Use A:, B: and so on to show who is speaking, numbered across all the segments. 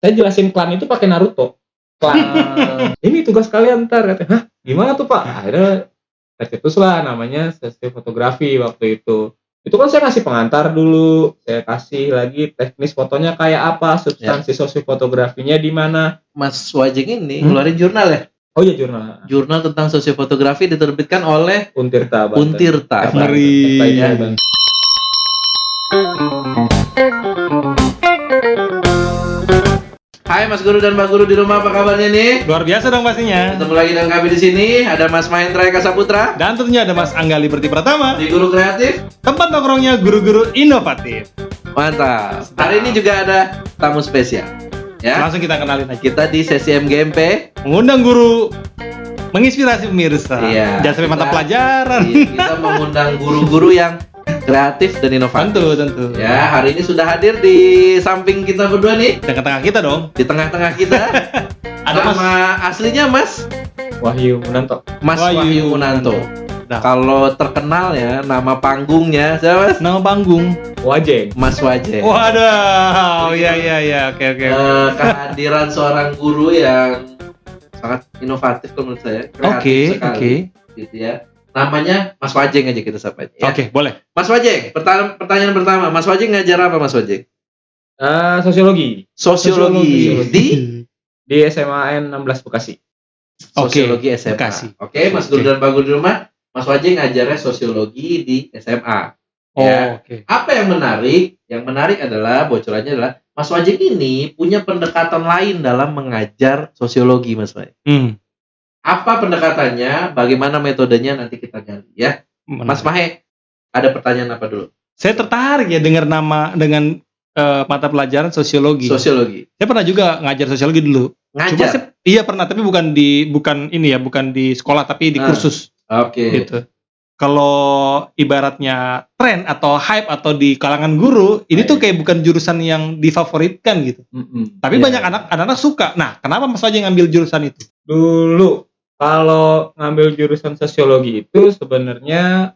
A: saya jelasin klan itu pakai Naruto klan ini tugas kalian ntar kata hah gimana tuh pak akhirnya tercetus lah namanya sesi fotografi waktu itu itu kan saya kasih pengantar dulu saya kasih lagi teknis fotonya kayak apa substansi sosio fotografinya di mana
B: Mas Wajeng ini
A: Hmm?
B: ngeluarin jurnal ya.
A: oh ya jurnal
B: Jurnal tentang sosiofotografi diterbitkan oleh
A: Untirta Banten.
B: Untirta.
A: Banten.
C: Ngeri.
A: Banten.
B: Ya.
A: Banten.
B: Hai Mas Guru dan Mbak Guru di rumah, apa kabarnya nih?
C: Luar biasa dong pastinya.
B: Ketemu lagi dengan kami di sini, ada Mas Mahendra Eka Saputra
C: Dan tentunya ada Mas Angga Liberty Pratama,
B: di Guru Kreatif.
C: tempat nongkrongnya guru-guru inovatif.
B: Mantap. Hari ini juga ada tamu spesial. Ya.
C: Langsung kita kenalin aja.
B: Kita di sesi MGMP.
C: Mengundang guru, menginspirasi pemirsa.
B: Iya.
C: Jasri mata
B: Kita-
C: pelajaran.
B: Kita mengundang guru-guru yang kreatif dan inovatif.
C: Tentu, tentu.
B: Ya, hari ini sudah hadir di samping kita berdua nih,
C: Dan ke tengah kita dong,
B: di tengah-tengah kita.
C: ada Mas
B: Nama aslinya Mas
A: Wahyu Munanto
B: Mas
C: Wahyu
B: Wahyu Munanto.
C: Nah.
B: Kalau terkenal ya nama panggungnya siapa Mas? Iya.
C: nama panggung.
A: Wajeng
B: Mas Wajeh.
C: Waduh, iya iya iya, oke oke.
B: Eh, kehadiran seorang guru yang sangat inovatif kalau menurut saya. Kreatif
C: Oke,
B: sekali,
C: oke.
B: Gitu ya. Namanya Mas Wajeng aja kita sapa aja. ya.
C: Oke, boleh.
B: Mas Wajeng, pertanyaan, pertanyaan pertama, Mas Wajeng ngajar apa Mas Wajeng?
A: Eh, sosiologi
B: Sosiologi,
A: Sosiologi.
B: di
A: di SMA N 16 Bekasi
C: Oke,
B: Sosiologi SMA.
C: Bekasi.
B: Oke, Mas Guru dan Pak Guru di rumah, Mas Wajeng ngajarnya sosiologi di SMA.
C: Oh,
B: Ya.
C: oke.
B: Apa yang menarik? Yang menarik adalah bocorannya adalah Mas Wajeng ini punya pendekatan lain dalam mengajar sosiologi, Mas Wajeng.
C: Hmm.
B: Apa pendekatannya? Bagaimana metodenya nanti kita gali ya. Mas
C: menarik.
B: Mahe, ada pertanyaan apa dulu?
C: Saya tertarik ya dengar nama dengan eh, mata pelajaran sosiologi.
B: Sosiologi.
C: saya pernah juga ngajar sosiologi dulu. Cuma
B: Ngajar.
C: saya- iya pernah, tapi bukan di bukan ini ya, bukan di sekolah tapi di
B: Ah,
C: kursus
B: Oke.
C: gitu. Kalau ibaratnya tren atau hype atau di kalangan guru,
B: Ah,
C: ini tuh kayak bukan jurusan yang difavoritkan gitu.
A: Mm-mm.
C: Tapi
B: Iya.
C: banyak anak anak suka. Nah, kenapa Mas Wajeng ngambil jurusan itu?
A: dulu kalau ngambil jurusan sosiologi itu sebenarnya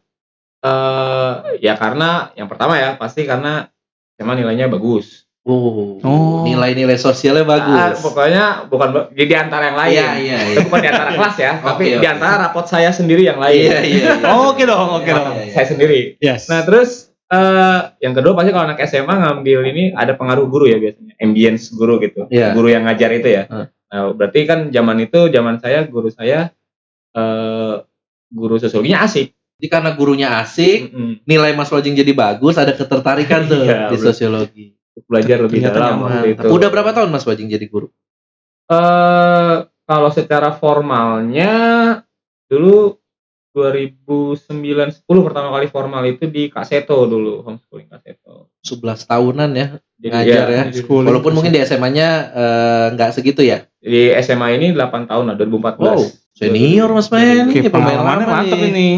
A: eh ya karena yang pertama ya pasti karena emang nilainya bagus.
B: Wow.
C: Oh.
B: Nilai-nilai sosialnya
A: Ah,
B: bagus.
A: pokoknya bukan ba- jadi di antara yang lain.
B: Iya, iya, iya.
A: Itu bukan di antara kelas ya,
B: Oke,
A: tapi
B: oke.
A: di antara rapot saya sendiri yang lain.
B: Iya, iya. iya.
C: Oke dong, oke
B: Iya,
C: dong.
B: iya, iya.
A: Saya sendiri.
C: Yes.
A: Nah, terus eh yang kedua pasti kalau anak SMA ngambil ini ada pengaruh guru ya biasanya, ambience guru gitu.
B: Iya.
A: Guru yang ngajar itu ya.
B: Hmm.
A: Nah, berarti kan zaman itu zaman saya guru saya eh guru sosiologinya asik.
B: Jadi karena gurunya asik,
A: Mm-mm.
B: nilai Mas Wajeng jadi bagus, ada ketertarikan tuh
A: Iya,
B: di
A: betul.
B: sosiologi.
A: belajar lebih
C: Ternyata
A: dalam
C: nyaman. gitu.
A: waktu itu.
B: Udah berapa tahun Mas Wajeng jadi guru?
A: Eh, kalau secara formalnya dulu 2009-10 pertama kali formal itu di Kaseto dulu homeschooling Kaseto.
B: 11 tahunan ya.
A: Jadi
B: Ngajar ya,
A: jadi-
C: schooling.
B: Walaupun mungkin di SMA-nya eh, nggak segitu ya.
A: Di SMA ini 8 tahun nah, lah 2014.
B: Wow, senior Mas Mahen. Ini pemain
C: Oke, Iya, pengalamannya
B: lama
C: mantep
B: nih.
C: ini.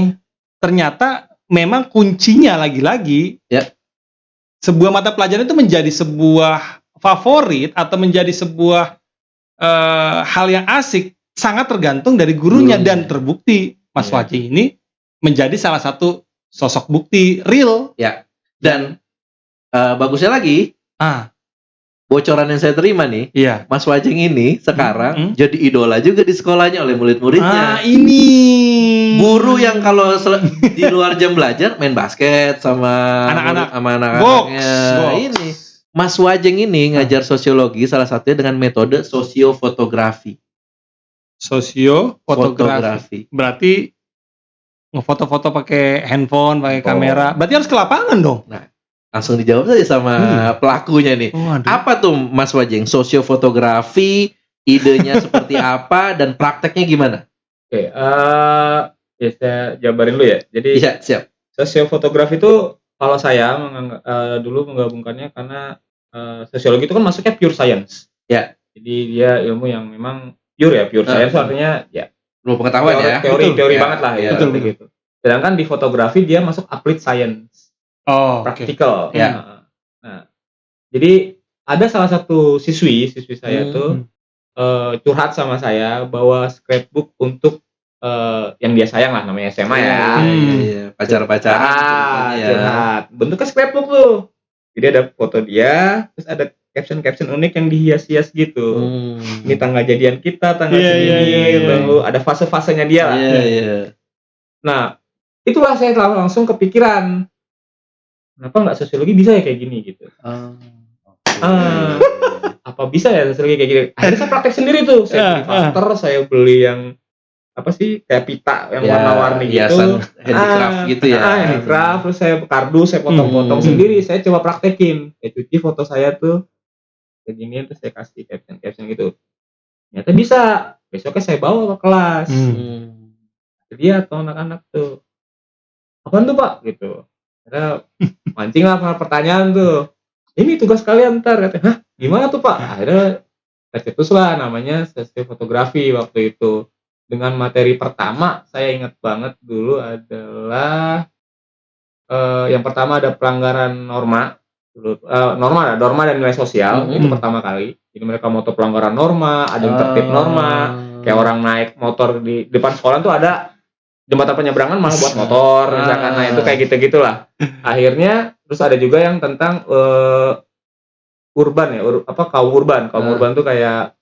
C: Ternyata memang kuncinya lagi-lagi
B: Ya.
C: sebuah mata pelajaran itu menjadi sebuah favorit atau menjadi sebuah eh, hal yang asik sangat tergantung dari gurunya
B: Gurunya.
C: dan terbukti Mas
A: Iya.
C: Wajih ini menjadi salah satu sosok bukti real.
B: Dan eh, bagusnya lagi,
C: Ah,
B: bocoran yang saya terima nih,
C: iya.
B: Mas Wajeng ini
C: Hmm,
B: sekarang
C: hmm.
B: jadi idola juga di sekolahnya oleh
C: Ah, iya.
B: murid-muridnya.
C: ini
B: Iya. Guru yang kalau sel- di luar jam belajar main basket sama
C: Anak-anak.
B: sama
C: box,
B: anak-anaknya.
C: box.
B: Ini Mas Wajeng ini ngajar sosiologi salah satunya dengan metode sosiofotografi.
C: sosio fotografi. berarti ngefoto-foto pakai handphone, pakai
B: Handphone.
C: kamera. Berarti harus ke lapangan dong.
B: Langsung dijawab saja sama
C: Hmm.
B: pelakunya nih.
A: Oh,
C: Waduh.
B: Apa tuh Mas Wajeng sosiofotografi? Idenya seperti apa dan prakteknya gimana?
A: Oke, eh, ya saya jabarin dulu ya. Jadi
B: Iya, siap.
A: sosiofotografi itu kalau saya mengangg- eh, dulu menggabungkannya karena eh, sosiologi itu kan masuknya pure science.
B: Ya.
A: Jadi dia ilmu yang memang pure ya, pure
B: Nah,
A: science
B: betul.
A: artinya ya
B: Belum pengetahuan
A: teori
B: ya.
A: teori,
C: Betul.
A: teori
B: Ya,
A: banget lah
B: ya,
A: ya
C: betul,
A: kayak gitu. Sedangkan di fotografi dia masuk applied science,
C: Oh, oke.
A: praktikal.
B: Ya.
A: Nah, Nah, jadi ada salah satu siswi, siswi saya
B: Hmm.
A: tuh eh, curhat sama saya bahwa scrapbook untuk eh, yang dia sayang lah namanya SMA ya.
C: Hmm.
B: Iya, iya. Pacar-pacaran.
A: Ah,
B: gitu
C: Iya.
A: curhat. Bentuknya scrapbook tuh. Jadi ada foto dia, terus ada caption-caption unik yang dihias-hias gitu.
B: Hmm.
A: Ini tanggal jadian kita, tanggal
C: Hmm. Iya,
A: segini,
C: iya, iya, iya.
A: lalu ada fase-fasenya dia ya lah.
B: Iya, iya.
A: Nah, itulah saya telah langsung kepikiran. Kenapa nggak sosiologi bisa ya kayak gini gitu?
B: Ah,
A: Ah.
B: oke.
A: Apa bisa ya sosiologi kayak gini? Akhirnya saya praktek sendiri tuh.
C: Ah,
A: Saya beli filter, saya beli yang apa sih kayak pita yang
C: Iya,
B: Ya,
A: warna-warni gitu.
B: hiasan handicraft
A: Ah,
B: gitu ya.
A: Ah, handicraft, terus saya kardus, saya potong-potong
B: Hmm.
A: sendiri, saya coba praktekin. Saya cuci foto saya tuh begini terus saya kasih caption-caption gitu. Ternyata bisa. Besoknya saya bawa ke kelas.
C: Hmm.
B: Hmm.
A: Dia atau anak-anak tuh. Apaan tuh, Pak? gitu. Karena mancing lah per- pertanyaan tuh. Ini tugas kalian ntar katanya. Hah, gimana tuh, Pak? Akhirnya tercetus lah namanya sesi fotografi waktu itu. Dengan materi pertama, saya ingat banget dulu adalah eh, yang pertama ada pelanggaran norma dulu eh, norma ada norma dan nilai sosial
B: Mhm.
A: itu pertama kali jadi mereka moto pelanggaran norma ada yang tertib
B: Ah.
A: norma
B: Hmm.
A: kayak orang naik motor di depan sekolah tuh ada jembatan penyeberangan malah buat motor
B: Ah.
A: misalkan nah itu kayak gitu gitulah akhirnya terus ada juga yang tentang eh, urban ya ur- apa kaum urban kaum
B: Ah.
A: urban tuh kayak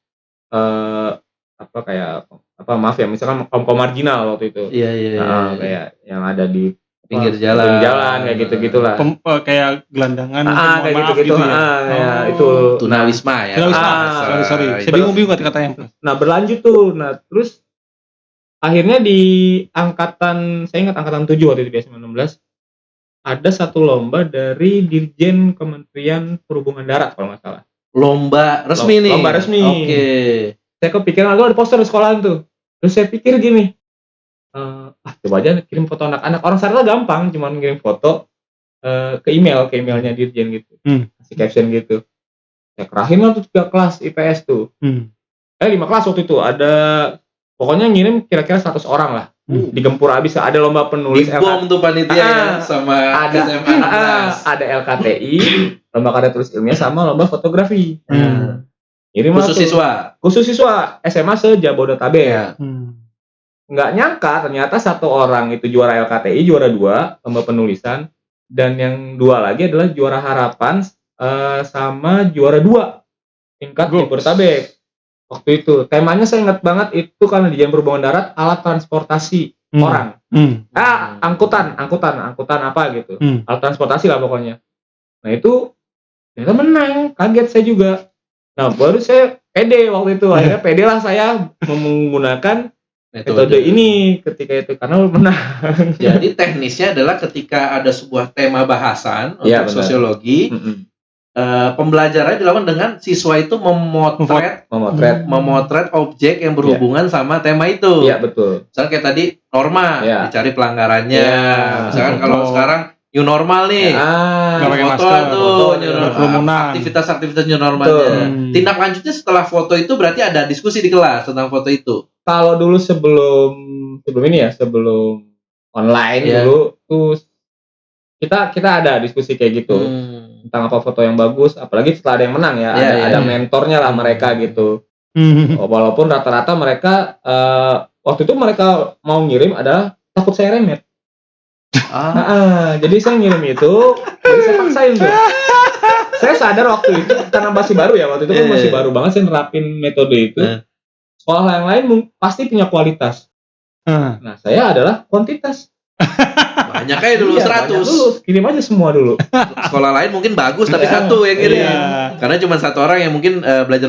A: eh, apa kayak apa maaf ya misalkan kaum kaum marginal waktu itu
B: Iya, iya, iya.
A: Nah, kayak yang ada di
B: pinggir
A: Wah,
B: jalan.
A: jalan kayak gitu gitulah
C: Pem- eh, kayak gelandangan
A: ah
C: mohon
A: kayak
C: maaf
A: gitu gitu,
C: ya.
A: ah, ya,
C: Oh.
A: itu
B: Tunawisma ya.
A: Ah,
C: Tunawisma,
B: kalau nggak
C: sorry
B: salah.
C: sorry saya
A: Ber-
C: bingung bingung katanya
A: nah berlanjut tuh nah terus akhirnya di angkatan saya ingat angkatan 7 waktu itu di SMA 16 ada satu lomba dari Dirjen Kementerian Perhubungan Darat kalau nggak salah
B: Lomba resmi
A: Lomba
B: nih.
A: resmi.
B: Oke.
A: saya kepikiran aku ada poster di sekolahan tuh terus saya pikir gini eh, ah coba aja kirim foto anak-anak orang sana gampang cuman kirim foto eh, ke email ke emailnya dirjen gitu
C: Hmm.
A: kasih caption gitu saya kerahin lah tuh tiga kelas IPS tuh
C: Hmm.
A: eh lima kelas waktu itu ada pokoknya ngirim kira-kira 100 orang lah
C: Hmm.
A: digempur abis ada lomba penulis
B: Dibom tuh panitia ya
A: Ah,
B: sama
A: ada
B: SMA
A: ah,
B: 16.
A: ada LKTI lomba karya tulis ilmiah sama lomba fotografi
C: Hmm.
A: ngirim lah
B: Khusus
A: tuh.
B: siswa.
A: khusus siswa SMA se Jabodetabek
C: Hmm.
A: nggak nyangka ternyata satu orang itu juara LKTI juara dua lomba penulisan dan yang dua lagi adalah juara harapan eh, sama juara dua tingkat
C: Gua.
A: Jabodetabek waktu itu temanya saya ingat banget itu karena di Jalan Perhubungan Darat alat transportasi
C: Hmm.
A: orang
C: Hmm.
A: ah angkutan angkutan angkutan apa gitu
C: Hmm.
A: alat transportasi lah pokoknya nah itu ternyata menang kaget saya juga nah baru saya pede waktu itu akhirnya pede lah saya menggunakan
B: Nah,
A: metode ini ketika itu karena lu menang
B: Jadi teknisnya adalah ketika ada sebuah tema bahasan
A: Iya, benar.
B: untuk sosiologi, eh, pembelajarannya dilakukan dengan siswa itu memotret
A: memotret Hmm.
B: memotret objek yang berhubungan sama tema itu.
A: iya betul
B: Misalnya kayak tadi norma,
A: Iya.
B: dicari pelanggarannya.
A: Iya.
B: Misalkan kalau
C: Oh.
B: sekarang new normal nih.
A: ah
C: Nggak pakai
B: foto
C: masker,
B: tuh,
A: foto,
B: new
A: iya.
B: normal.
C: Kerumunan.
B: aktivitas-aktivitas new normalnya.
A: Betul.
C: Hmm.
B: Tindak lanjutnya setelah foto itu berarti ada diskusi di kelas tentang foto itu.
A: kalau dulu sebelum sebelum ini ya sebelum online
B: Iya.
A: dulu tuh kita kita ada diskusi kayak gitu
B: Hmm.
A: tentang apa foto yang bagus apalagi setelah ada yang menang ya
B: Iya,
A: ada,
B: iya,
A: ada
B: iya.
A: mentornya lah mereka gitu
C: Hmm.
A: walaupun rata-rata mereka eh, waktu itu mereka mau ngirim adalah takut saya remet
B: Ah.
A: Ah, ah, jadi saya ngirim itu, jadi saya paksain tuh. Saya sadar waktu itu karena masih baru ya waktu itu kan
B: Iya,
A: masih
B: iya.
A: baru banget saya nerapin metode itu.
B: Nah.
A: Sekolah yang lain mung- pasti punya kualitas.
C: Ah.
A: Nah saya adalah kuantitas.
B: Banyak aja dulu
A: Iya, banyak
B: 100.
A: dulu. Kirim aja semua dulu.
B: Sekolah lain mungkin bagus tapi satu yang kirim.
C: Iya.
B: Karena cuma satu orang yang mungkin eh, belajar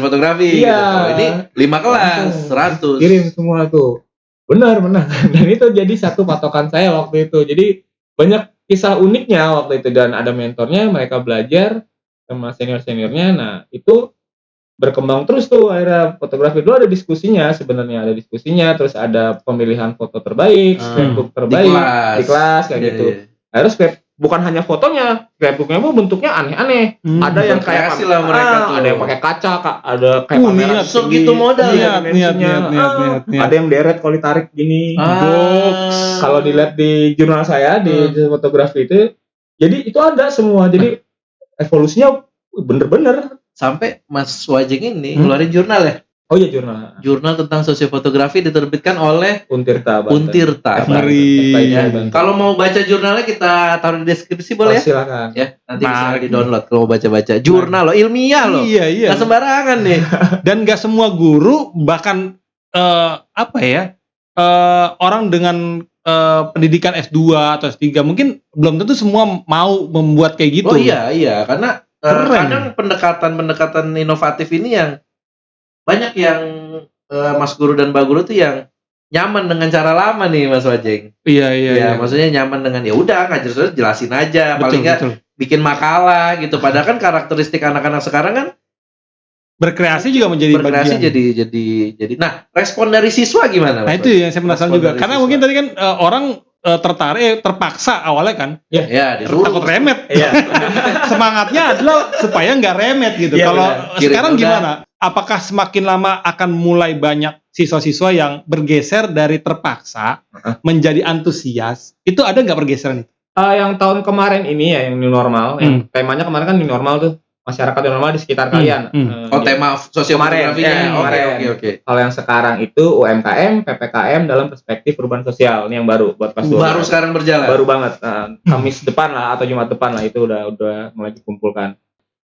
A: Iya.
B: fotografi. gitu. Kalau ini lima kelas,
A: Langsung.
B: seratus.
A: Kirim semua tuh. Benar benar. Dan itu jadi satu patokan saya waktu itu. Jadi banyak kisah uniknya waktu itu dan ada mentornya mereka belajar sama senior seniornya. Nah itu berkembang terus tuh akhirnya fotografi dulu ada diskusinya sebenarnya ada diskusinya terus ada pemilihan foto terbaik,
B: Hmm.
A: scrapbook
B: di
A: terbaik
B: kelas.
A: di kelas kayak
B: Iya,
A: gitu.
B: iya.
A: Akhirnya scrap- bukan hanya fotonya, scrapbooknya pun bentuknya aneh-aneh
C: Hmm.
A: ada yang kayak
B: Berkreasi lah mereka
A: Ah,
B: tuh.
A: ada yang pakai kaca Kak. ada kayak
C: Uh,
A: kamera
C: niat,
B: segitu modal.
A: Iya,
C: Niat, niat,
A: dimensinya.
C: niat, niat,
A: Ah,
C: niat, niat.
A: ada yang deret kalau ditarik gini
B: Ah.
C: Box.
A: kalau dilihat di jurnal saya di fotografi itu jadi itu ada semua jadi evolusinya bener-bener
B: sampai Mas Wajeng ini
C: Hmm?
B: ngeluarin jurnal ya.
A: Oh iya jurnal
B: Jurnal tentang sosiofotografi diterbitkan oleh
A: Untirta Banten.
B: Untirta.
A: Banten.
C: Ngeri.
A: Banten.
B: Ya, kalau mau baca jurnalnya kita taruh di deskripsi boleh ya?
A: silakan.
B: Ya, nanti bisa
C: Menarik.
B: di download kalau mau baca-baca. Jurnal loh, ilmiah loh.
C: Iya iya.
B: Nggak sembarangan nih.
C: dan nggak semua guru bahkan eh, apa ya eh, orang dengan eh, pendidikan S2 atau S3 mungkin belum tentu semua mau membuat kayak gitu.
B: Oh iya iya karena eh,
C: Keren.
B: kadang pendekatan-pendekatan inovatif ini yang banyak yang eh, Mas Guru dan Mbak Guru tuh yang nyaman dengan cara lama nih Mas Wajeng.
C: iya iya.
B: ya,
C: iya.
B: maksudnya nyaman dengan ya udah ngajar saudara jelasin aja paling
C: Betul,
B: nggak
C: betul.
B: bikin makalah gitu. Padahal kan karakteristik anak-anak sekarang kan
C: Berkreasi juga menjadi
B: berkreasi
C: bagian.
B: jadi jadi jadi. Nah respon dari siswa gimana?
C: nah
B: Mas
C: itu yang saya penasaran
B: Respon
C: juga
B: dari
C: karena
B: siswa.
C: mungkin tadi kan eh, orang eh, tertarik eh, terpaksa awalnya kan
B: Wajeng? ya disuruh.
C: takut remet
A: Iya.
C: semangatnya adalah supaya nggak remet gitu.
A: Iya,
C: Kalau
B: benar. Kirim
C: sekarang
B: udah.
C: gimana? Apakah semakin lama akan mulai banyak siswa-siswa yang bergeser dari terpaksa
A: Heeh.
C: menjadi antusias? Itu ada nggak pergeseran itu?
A: Eh, yang tahun kemarin ini ya yang new normal, yang temanya kemarin kan new normal tuh masyarakat new normal di sekitar
C: Hmm,
A: kalian.
C: hmm.
A: Eh,
B: Oh tema
C: Eh,
A: Kemarin,
B: sosiografinya.
A: ya,
B: Oke
A: kemarin.
B: oke oke.
A: Kalau yang sekarang itu UMKM, PPKM dalam perspektif perubahan sosial ini yang baru buat kelas dua.
B: Baru sekarang berjalan.
A: baru banget. Nah, Kamis depan lah atau Jumat depan lah itu udah udah mulai dikumpulkan.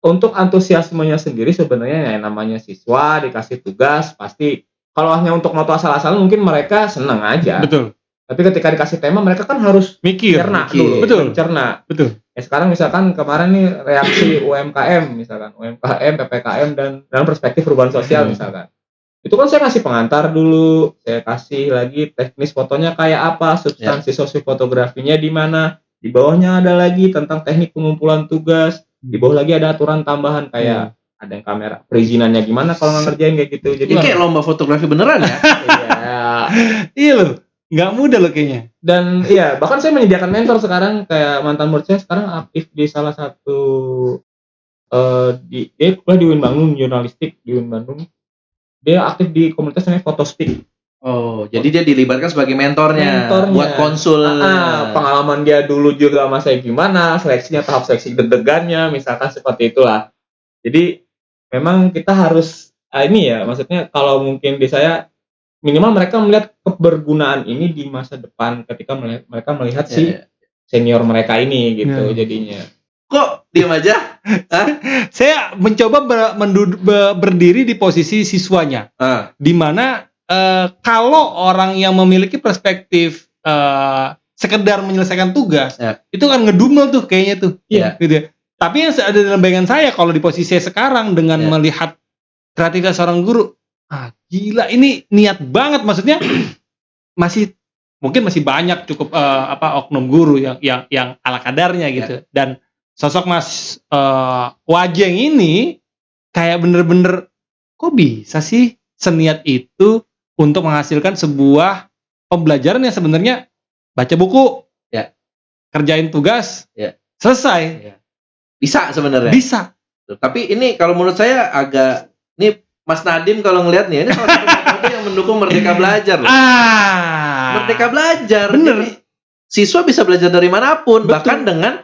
A: Untuk antusiasmenya sendiri sebenarnya ya namanya siswa dikasih tugas pasti kalau hanya untuk noto asal-asalan mungkin mereka seneng aja.
C: Betul.
A: Tapi ketika dikasih tema mereka kan harus
C: Mikir.
A: cerna
B: mikir.
A: dulu,
C: Iya, Betul.
A: cerna.
C: Betul.
A: Ya, sekarang misalkan kemarin nih reaksi UMKM misalkan UMKM, PPKM dan dalam perspektif perubahan sosial
B: Hmm.
A: misalkan. Itu kan saya kasih pengantar dulu, saya kasih lagi teknis fotonya kayak
B: Ya.
A: apa, substansi sosiofotografinya di mana, di bawahnya ada lagi tentang teknik pengumpulan tugas,
B: Hmm.
A: di bawah lagi ada aturan tambahan kayak ada yang kamera perizinannya gimana kalau nggak ngerjain kayak gitu. Jadi
B: Ini kayak lomba fotografi beneran ya.
A: iya.
C: Iya loh. Nggak mudah loh kayaknya.
A: dan iya bahkan saya menyediakan mentor sekarang kayak mantan murid saya sekarang aktif di salah satu eh di dia kuliah di UIN Bandung jurnalistik di UIN Bandung dia aktif di komunitas namanya Photospeak
B: Oh, jadi dia dilibatkan sebagai mentornya,
A: Mentornya.
B: buat konsul.
A: Ah, pengalaman dia dulu juga sama saya gimana seleksinya tahap seleksi deg-degannya misalkan seperti itulah jadi memang kita harus ah, ini ya maksudnya kalau mungkin di saya minimal mereka melihat kebergunaan ini di masa depan ketika melihat- mereka melihat si
B: Ya.
A: senior mereka ini gitu
C: Ya.
A: jadinya.
B: Kok diam aja?
C: Saya mencoba ber- mendu- be- berdiri di posisi siswanya,
B: Ah,
C: di mana eh, kalau orang yang memiliki perspektif eh, sekedar menyelesaikan tugas,
B: Ya.
C: itu kan ngedumel tuh kayaknya tuh.
B: Iya.
C: gitu ya. Tapi yang ada dalam bayangan saya kalau di posisi saya sekarang dengan
B: Iya.
C: melihat kreativitas seorang guru, ah gila ini niat banget maksudnya masih mungkin masih banyak cukup eh, apa oknum guru yang yang yang ala kadarnya gitu dan sosok Mas eh, Wajeng ini kayak bener-bener kok bisa sih seniat itu untuk menghasilkan sebuah pembelajaran yang sebenarnya baca buku
B: Ya.
C: kerjain tugas
B: Ya.
C: selesai
B: bisa sebenarnya.
C: bisa
B: Tapi ini kalau menurut saya agak ini Mas Nadim kalau ngelihat nih, ini salah satu metode yang mendukung Merdeka Belajar loh.
C: ah
B: Merdeka Belajar.
C: Bener.
B: Jadi, siswa bisa belajar dari manapun,
C: Betul.
B: bahkan dengan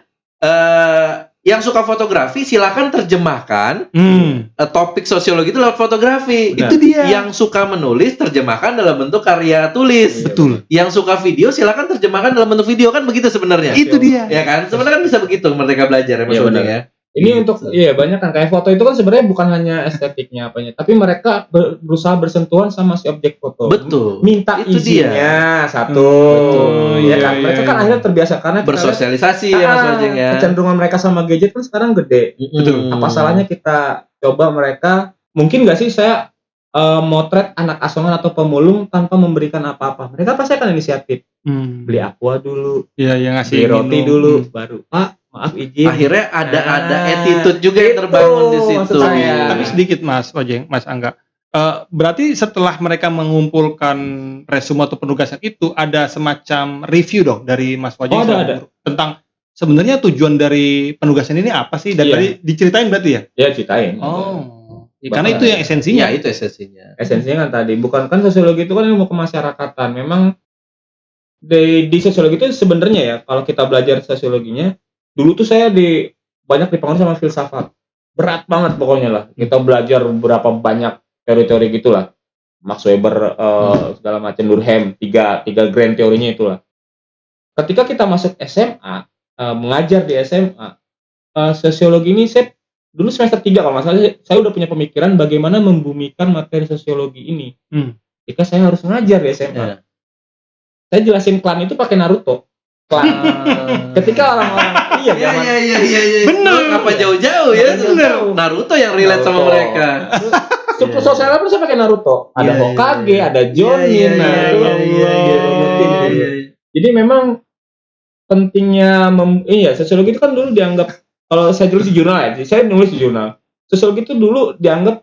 B: eh, yang suka fotografi silakan terjemahkan
C: hmm.
B: eh, topik sosiologi itu lewat fotografi.
A: Benar.
C: itu dia
B: Yang suka menulis terjemahkan dalam bentuk karya tulis.
A: Iya.
C: betul
B: yang suka video silakan terjemahkan dalam bentuk video kan begitu sebenarnya
C: itu dia
B: ya kan sebenarnya kan bisa begitu mereka belajar ya Mas
A: Iya,
B: Odeng,
A: benar.
B: ya
A: Ini untuk iya banyak kan kayak foto itu kan sebenarnya bukan hanya estetiknya apanya, tapi mereka ber- berusaha bersentuhan sama si objek foto.
B: betul
A: Minta
B: Itu
A: izinnya satu.
C: Oh,
A: ya
C: iya,
A: kan mereka
C: iya,
A: kan
C: iya.
A: akhirnya terbiasa karena kita
B: bersosialisasi
A: lihat,
B: ya Mas
A: ah,
B: Odeng, ya
A: kecenderungan mereka sama gadget kan sekarang gede.
C: Betul.
B: Hmm.
A: Apa salahnya kita coba mereka mungkin nggak sih saya eh, motret anak asongan atau pemulung tanpa memberikan apa-apa. Mereka pasti akan inisiatif
C: Hmm.
A: beli aqua dulu,
C: ya yang
A: beli
C: ngasih
A: roti
C: minum. Hmm.
A: dulu, baru Pak maaf izin.
B: Iya. akhirnya ada
A: Ah,
B: ada attitude juga yang
A: itu
B: terbangun di
A: maksud
B: situ Iya.
A: saya.
C: Hmm. tapi sedikit mas Ojeng mas Angga Eh, berarti setelah mereka mengumpulkan resume atau penugasan itu ada semacam review dong dari Mas
A: Oh,
C: Wajeng
A: ada,
C: sama
A: ada.
C: guru. tentang sebenarnya tujuan dari penugasan ini apa sih dan
A: Iya.
C: tadi diceritain berarti ya
A: Ya ceritain.
C: oh Ya,
A: Bakal
C: karena itu yang esensinya
B: Iya, itu esensinya
A: Esensinya kan tadi bukan kan sosiologi itu kan ilmu kemasyarakatan. Memang di, di sosiologi itu sebenarnya ya kalau kita belajar sosiologinya dulu tuh saya di banyak dipengaruhi sama filsafat. Berat banget pokoknya lah. Kita belajar berapa banyak teori-teori gitulah Max Weber eh, segala macam Durkheim tiga tiga grand teorinya itulah ketika kita masuk SMA eh, mengajar di SMA eh, sosiologi ini saya dulu semester 3 kalau masalah saya, saya udah punya pemikiran bagaimana membumikan materi sosiologi ini
C: Hmm.
A: jika saya harus ngajar di SMA
B: Iya.
A: saya jelasin klan itu pakai Naruto klan Ah. ketika orang-orang iya
B: Iya
A: zaman-
B: iya iya iya. iya.
C: Bener.
B: Lu Ngapa jauh-jauh ya?
A: Bener.
B: Naruto yang relate sama
A: Naruto.
B: mereka.
A: So-
B: Iya.
A: Sosialnya pun saya pakai Naruto. Ada
B: Iya, iya,
A: Hokage,
B: iya.
A: ada Jonin.
B: Iya,
A: nah, itu.
B: iya, iya, iya, iya, iya, iya, iya.
A: Jadi memang pentingnya mem iya sosiologi itu kan dulu dianggap kalau saya dulu di jurnal ya, jadi saya nulis di jurnal. Sosiologi itu dulu dianggap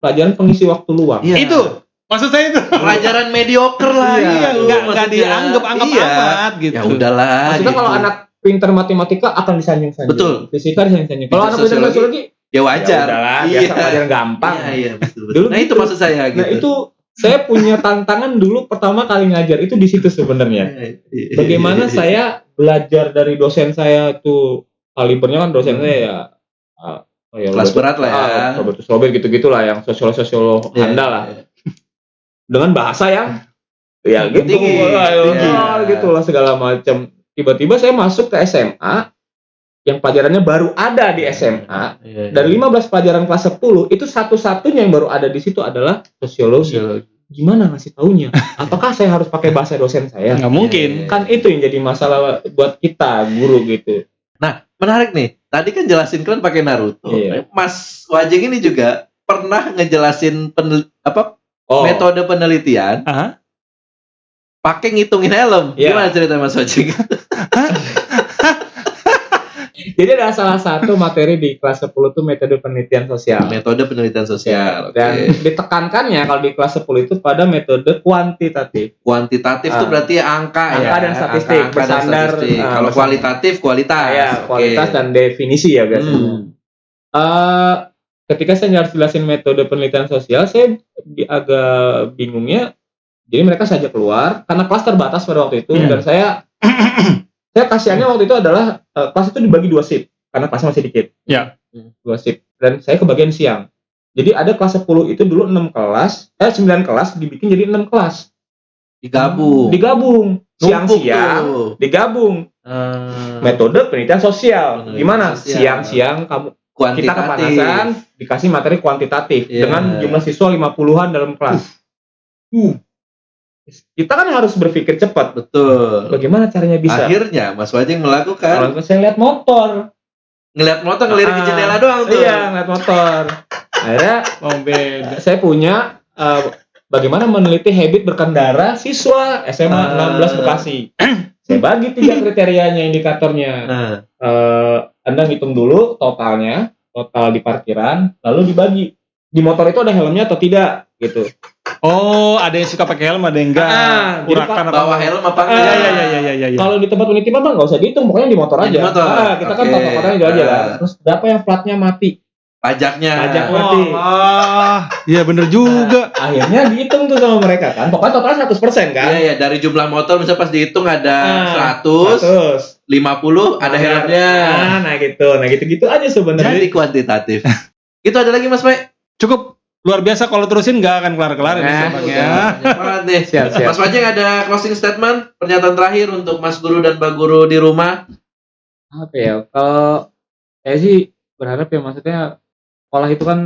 A: pelajaran pengisi waktu luang.
B: Iya.
C: Itu maksud saya itu.
B: pelajaran mediocre lah.
C: Iya,
B: gitu,
C: nggak nggak
B: maksudnya.
C: dianggap anggap
B: Iya.
C: amat gitu.
B: Ya udahlah.
A: Maksudnya
B: gitu.
A: kalau anak pinter matematika akan disanjung-sanjung.
B: Betul.
A: Fisika disanjung-sanjung. Kalau
B: Itu
A: anak pinter
B: sosiologi,
A: sosiologi,
B: ya wajar.
A: ya udahlah,
B: iya.
A: biasa pelajaran gampang.
B: Iya, iya, betul, betul.
A: Dulu
B: nah, itu
A: gitu.
B: maksud saya gitu.
A: Nah itu saya punya tantangan dulu pertama kali ngajar itu di situ
B: Iya,
A: sebenarnya. bagaimana saya belajar dari dosen saya itu kalibernya kan dosen saya ya ah, oh ya,
B: Hmm. kelas
A: Robertus-
B: berat lah ya.
A: ah, Robertus Robert gitu-gitulah yang sosiolog-sosiolog
B: Iya,
A: handal lah
B: iya.
A: dengan bahasa yang ya gitu
B: Tinggi,
A: ayo,
B: tinggi.
A: ah, gitulah segala macam tiba-tiba saya masuk ke SMA yang pelajarannya baru ada di SMA
B: Iya, iya.
A: dari 15 pelajaran kelas 10 itu satu-satunya yang baru ada di situ adalah sosiologi
B: Sosiologi.
A: gimana ngasih taunya apakah saya harus pakai bahasa dosen saya
C: Nggak mungkin.
B: Iya, iya.
A: kan itu yang jadi masalah buat kita guru gitu
B: Menarik nih. Tadi kan jelasin kalian pakai Naruto.
A: Iya.
B: Mas Wajeng ini juga pernah ngejelasin penel- apa
A: oh
B: metode penelitian
C: Aha.
B: pakai ngitungin helm.
A: Iya.
B: Gimana cerita Mas Wajeng?
A: jadi ada salah satu materi di kelas 10 tuh metode penelitian sosial
B: metode penelitian sosial.
A: Iya. dan
B: Oke.
A: ditekankannya kalau di kelas 10 itu pada metode kuantitatif
B: Kuantitatif itu
A: Ah.
B: berarti angka, ya.
A: Angka dan statistik,
B: Angka, dan
A: bersandar,
B: statistik.
A: ah,
B: Kalau
A: bersandar.
B: kualitatif kualitas.
A: ya
B: Ah, Oke.
A: kualitas dan definisi ya biasanya
B: Hmm.
A: Eh, ketika saya harus jelasin metode penelitian sosial saya di- agak bingungnya jadi mereka saja keluar karena kelas terbatas pada waktu itu
C: Iya.
A: dan saya saya kasihannya waktu itu adalah eh, kelas itu dibagi dua shift karena kelasnya masih dikit Hmm,
C: Iya.
A: dua shift dan saya kebagian siang jadi ada kelas 10 itu dulu 6 kelas eh 9 kelas dibikin jadi 6 kelas
B: digabung.
A: digabung
B: Numpuk
A: siang-siang
B: tuh.
A: digabung
B: Eh,
A: metode penelitian sosial
B: Penelitian
A: gimana
B: sosial.
A: siang-siang kamu kita
B: kuantitatif.
A: kepanasan dikasih materi kuantitatif
B: Iya.
A: dengan jumlah siswa 50-an dalam kelas. Uh. Kita kan harus berpikir cepat.
B: Betul.
A: Bagaimana caranya bisa?
B: Akhirnya Mas Wajeng
A: Kalau
B: melakukan
A: saya lihat motor.
B: ngeliat motor ngelirik ke
A: Ah,
B: jendela doang tuh.
A: Iya, ngeliat motor. Akhirnya
C: Mau Oh, beda.
A: saya punya eh, bagaimana meneliti habit berkendara siswa SMA
B: Ah.
A: 16 Bekasi. saya bagi tiga kriterianya indikatornya.
B: Nah,
A: Eh, anda ngitung dulu totalnya, total di parkiran, lalu dibagi. Di motor itu ada helmnya atau tidak gitu.
C: Oh, ada yang suka pakai helm, ada yang enggak.
A: Ah, jadi
C: Urakan apa?
B: bawa helm apa
A: Ah,
B: enggak?
C: Iya, iya, iya, iya, iya, iya.
A: Kalau di tempat penelitian bang nggak usah dihitung, pokoknya di motor
B: Yang
A: aja.
B: di motor.
A: Ah, kita kan
B: Oke.
A: motor motornya itu aja kan.
B: Ah.
A: Terus berapa yang platnya mati?
B: Pajaknya.
A: Pajak. oh,
C: Wah,
A: berarti.
C: wah, iya bener juga.
A: Ah, Akhirnya dihitung tuh sama mereka kan. Pokoknya totalnya 100 persen kan.
B: Iya, iya, dari jumlah motor misalnya pas dihitung ada
A: Ah,
B: 100,
A: 100.
B: 50 ada helmnya.
A: Ah, nah gitu, nah gitu-gitu aja
B: Jadi
A: sebenarnya.
B: kuantitatif. Itu ada lagi Mas Mai?
C: Cukup luar biasa kalau terusin nggak akan ya, kelar-kelar ini
A: Nah,
C: semuanya.
B: Banyak banget nih.
A: Siap, siap.
B: Mas Wajeng ada closing statement, pernyataan terakhir untuk Mas Guru dan Mbak Guru di rumah.
A: Apa ya? Kalau saya sih berharap ya maksudnya sekolah itu kan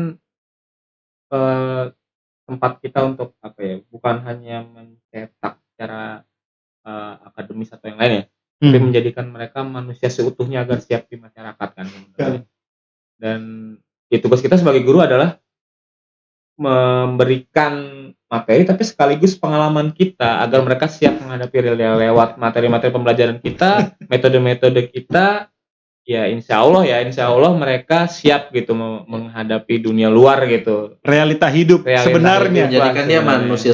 A: eh, tempat kita untuk apa ya? Bukan hanya mencetak secara eh, akademis atau yang lain ya. tapi
C: Hmm.
A: menjadikan mereka manusia seutuhnya agar siap di masyarakat kan sebenarnya. dan ya, tugas kita sebagai guru adalah memberikan materi tapi sekaligus pengalaman kita agar mereka siap menghadapi real lewat materi-materi pembelajaran kita metode-metode kita ya insya Allah ya insya Allah mereka siap gitu me- menghadapi dunia luar gitu
C: Realita hidup
A: Realita
C: Iya, sebenarnya.
A: hidup.
B: Menjadikannya
A: Sebenarnya.
B: manusia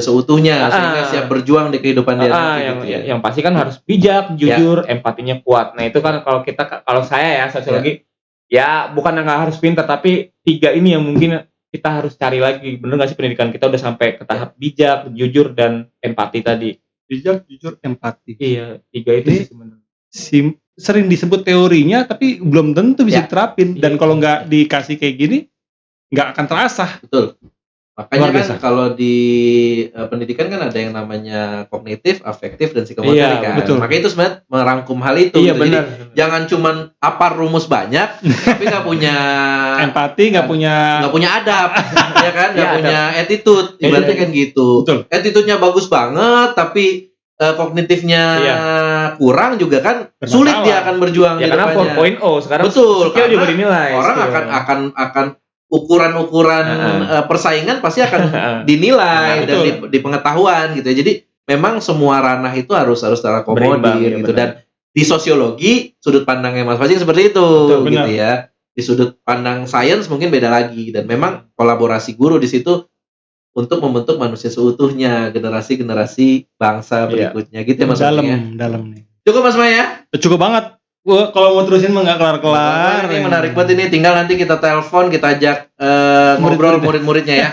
A: Ah.
B: seutuhnya sehingga siap berjuang di kehidupan
A: Ah,
B: dia nanti
C: iya,
A: yang,
B: gitu ya.
A: yang pasti kan harus bijak, jujur, empatinya kuat. Nah itu kan kalau kita kalau saya ya sosiologi ya bukan yang nggak harus pintar tapi tiga ini yang mungkin kita harus cari lagi bener nggak sih pendidikan kita udah sampai ke
B: Ya.
A: tahap bijak, jujur dan empati tadi.
C: Bijak, jujur, empati.
A: Iya tiga itu
C: Jadi-
A: sih sebenarnya.
C: Sim- sering disebut teorinya tapi belum tentu bisa
A: Ya.
C: diterapin
A: Iya.
C: dan kalau nggak dikasih kayak gini nggak akan terasa.
B: Betul. Makanya
C: Luar biasa.
B: kan kalau di eh, pendidikan kan ada yang namanya kognitif, afektif dan psikomotorik
C: Iya,
B: kan.
C: betul.
B: Makanya itu sebenarnya merangkum hal itu.
C: iya
B: gitu. Jadi
C: benar.
A: Ya,
B: jangan cuman apa rumus banyak tapi nggak punya Nah,
C: Empati nggak punya
B: nggak punya adab ya kan nggak
A: Iya,
B: punya attitude ibaratnya kan gitu
C: Betul.
B: attitude-nya bagus banget tapi eh, kognitifnya
A: Iya.
B: kurang juga kan
C: Bermasalah.
B: sulit dia akan berjuang
A: ya
B: di
A: karena
B: depannya
A: 4.0 sekarang
B: Betul,
A: skill juga
B: karena
A: dinilai
B: orang
A: skill.
B: akan akan akan ukuran-ukuran
A: Heeh.
B: eh, persaingan pasti akan
A: Heeh.
B: dinilai
C: Nah,
B: dan
C: betul.
B: di, di pengetahuan gitu ya. Jadi memang semua ranah itu harus harus
A: Berimbang,
B: terakomodir
A: ya,
B: gitu
A: benar.
B: dan di sosiologi sudut pandangnya masing-masing seperti itu
C: Betul, benar.
B: gitu ya. Di sudut pandang sains mungkin beda lagi dan memang kolaborasi guru di situ untuk membentuk manusia seutuhnya, generasi-generasi bangsa
A: Iya.
B: berikutnya gitu ya Mas
C: dalam
B: Maya.
C: dalam nih.
B: Cukup Mas Maya.
C: Cukup banget. Gua kalau mau terusin mah nggak kelar-kelar.
B: ini menarik banget ini tinggal nanti kita telepon, kita ajak eh, ngobrol
C: Murid-murid.
B: murid-muridnya ya.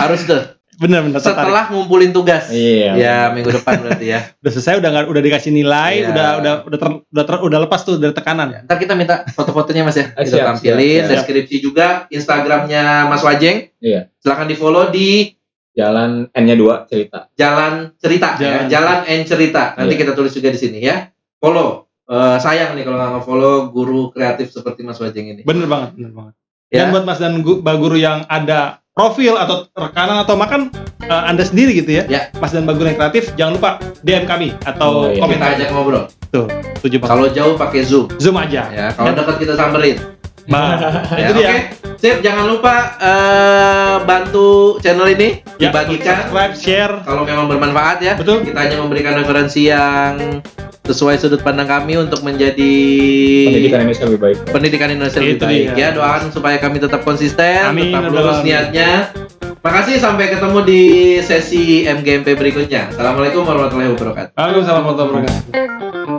B: Harus tuh
C: Bener-bener tertarik.
B: setelah ngumpulin tugas.
A: iya
B: Ya minggu depan berarti ya.
C: Udah selesai udah nggak- udah dikasih nilai,
B: Iya.
C: udah udah udah ter- udah, ter- udah lepas tuh dari tekanan.
B: Ntar kita minta foto-fotonya Mas ya.
C: Ah,
A: Eh,
B: Kita
A: siap,
B: tampilin
A: siap, siap.
B: deskripsi juga Instagramnya Mas Wajeng.
A: Iya.
B: Silahkan di follow di
A: jalan N-nya dua cerita
B: Jalan Cerita
C: Jalan.
B: ya. Jalan and Cerita. Nanti
A: Iya.
B: kita tulis juga di sini ya. Follow. Eh, sayang nih kalau nggak nge-follow guru kreatif seperti Mas Wajeng ini.
C: Bener banget, bener banget. Dan
B: Iya. Ya.
C: buat Mas dan Gu- Mbak Guru yang ada profil atau rekanan atau makan eh, Anda sendiri gitu ya.
B: Ya.
C: Mas dan Mbak Guru yang kreatif, jangan lupa DM kami
A: Oh,
C: atau
A: iya.
B: Kita
C: komentar aja.
B: ajak ngobrol.
C: Setuju banget.
B: Kalau jauh pakai Zoom.
C: Zoom aja.
B: Ya, kalau dekat kita samperin. Ya,
C: Bah. Iya. Nah, Itu
B: Oke,
C: dia.
B: sip. Jangan lupa eh, bantu channel ini
C: Ya,
B: dibagikan
C: subscribe, share.
B: kalau memang bermanfaat ya.
C: Betul.
B: kita hanya memberikan referensi yang sesuai sudut pandang kami untuk menjadi Iya.
A: pendidikan Indonesia lebih baik
B: pendidikan Indonesia lebih
C: Itu
B: baik
C: dia.
B: ya doakan supaya kami tetap konsisten
C: Amin,
B: tetap
C: Rabbal
B: lurus
C: Alamin.
B: niatnya makasih sampai ketemu di sesi MGMP berikutnya assalamualaikum warahmatullahi wabarakatuh
C: Waalaikumsalam warahmatullahi wabarakatuh.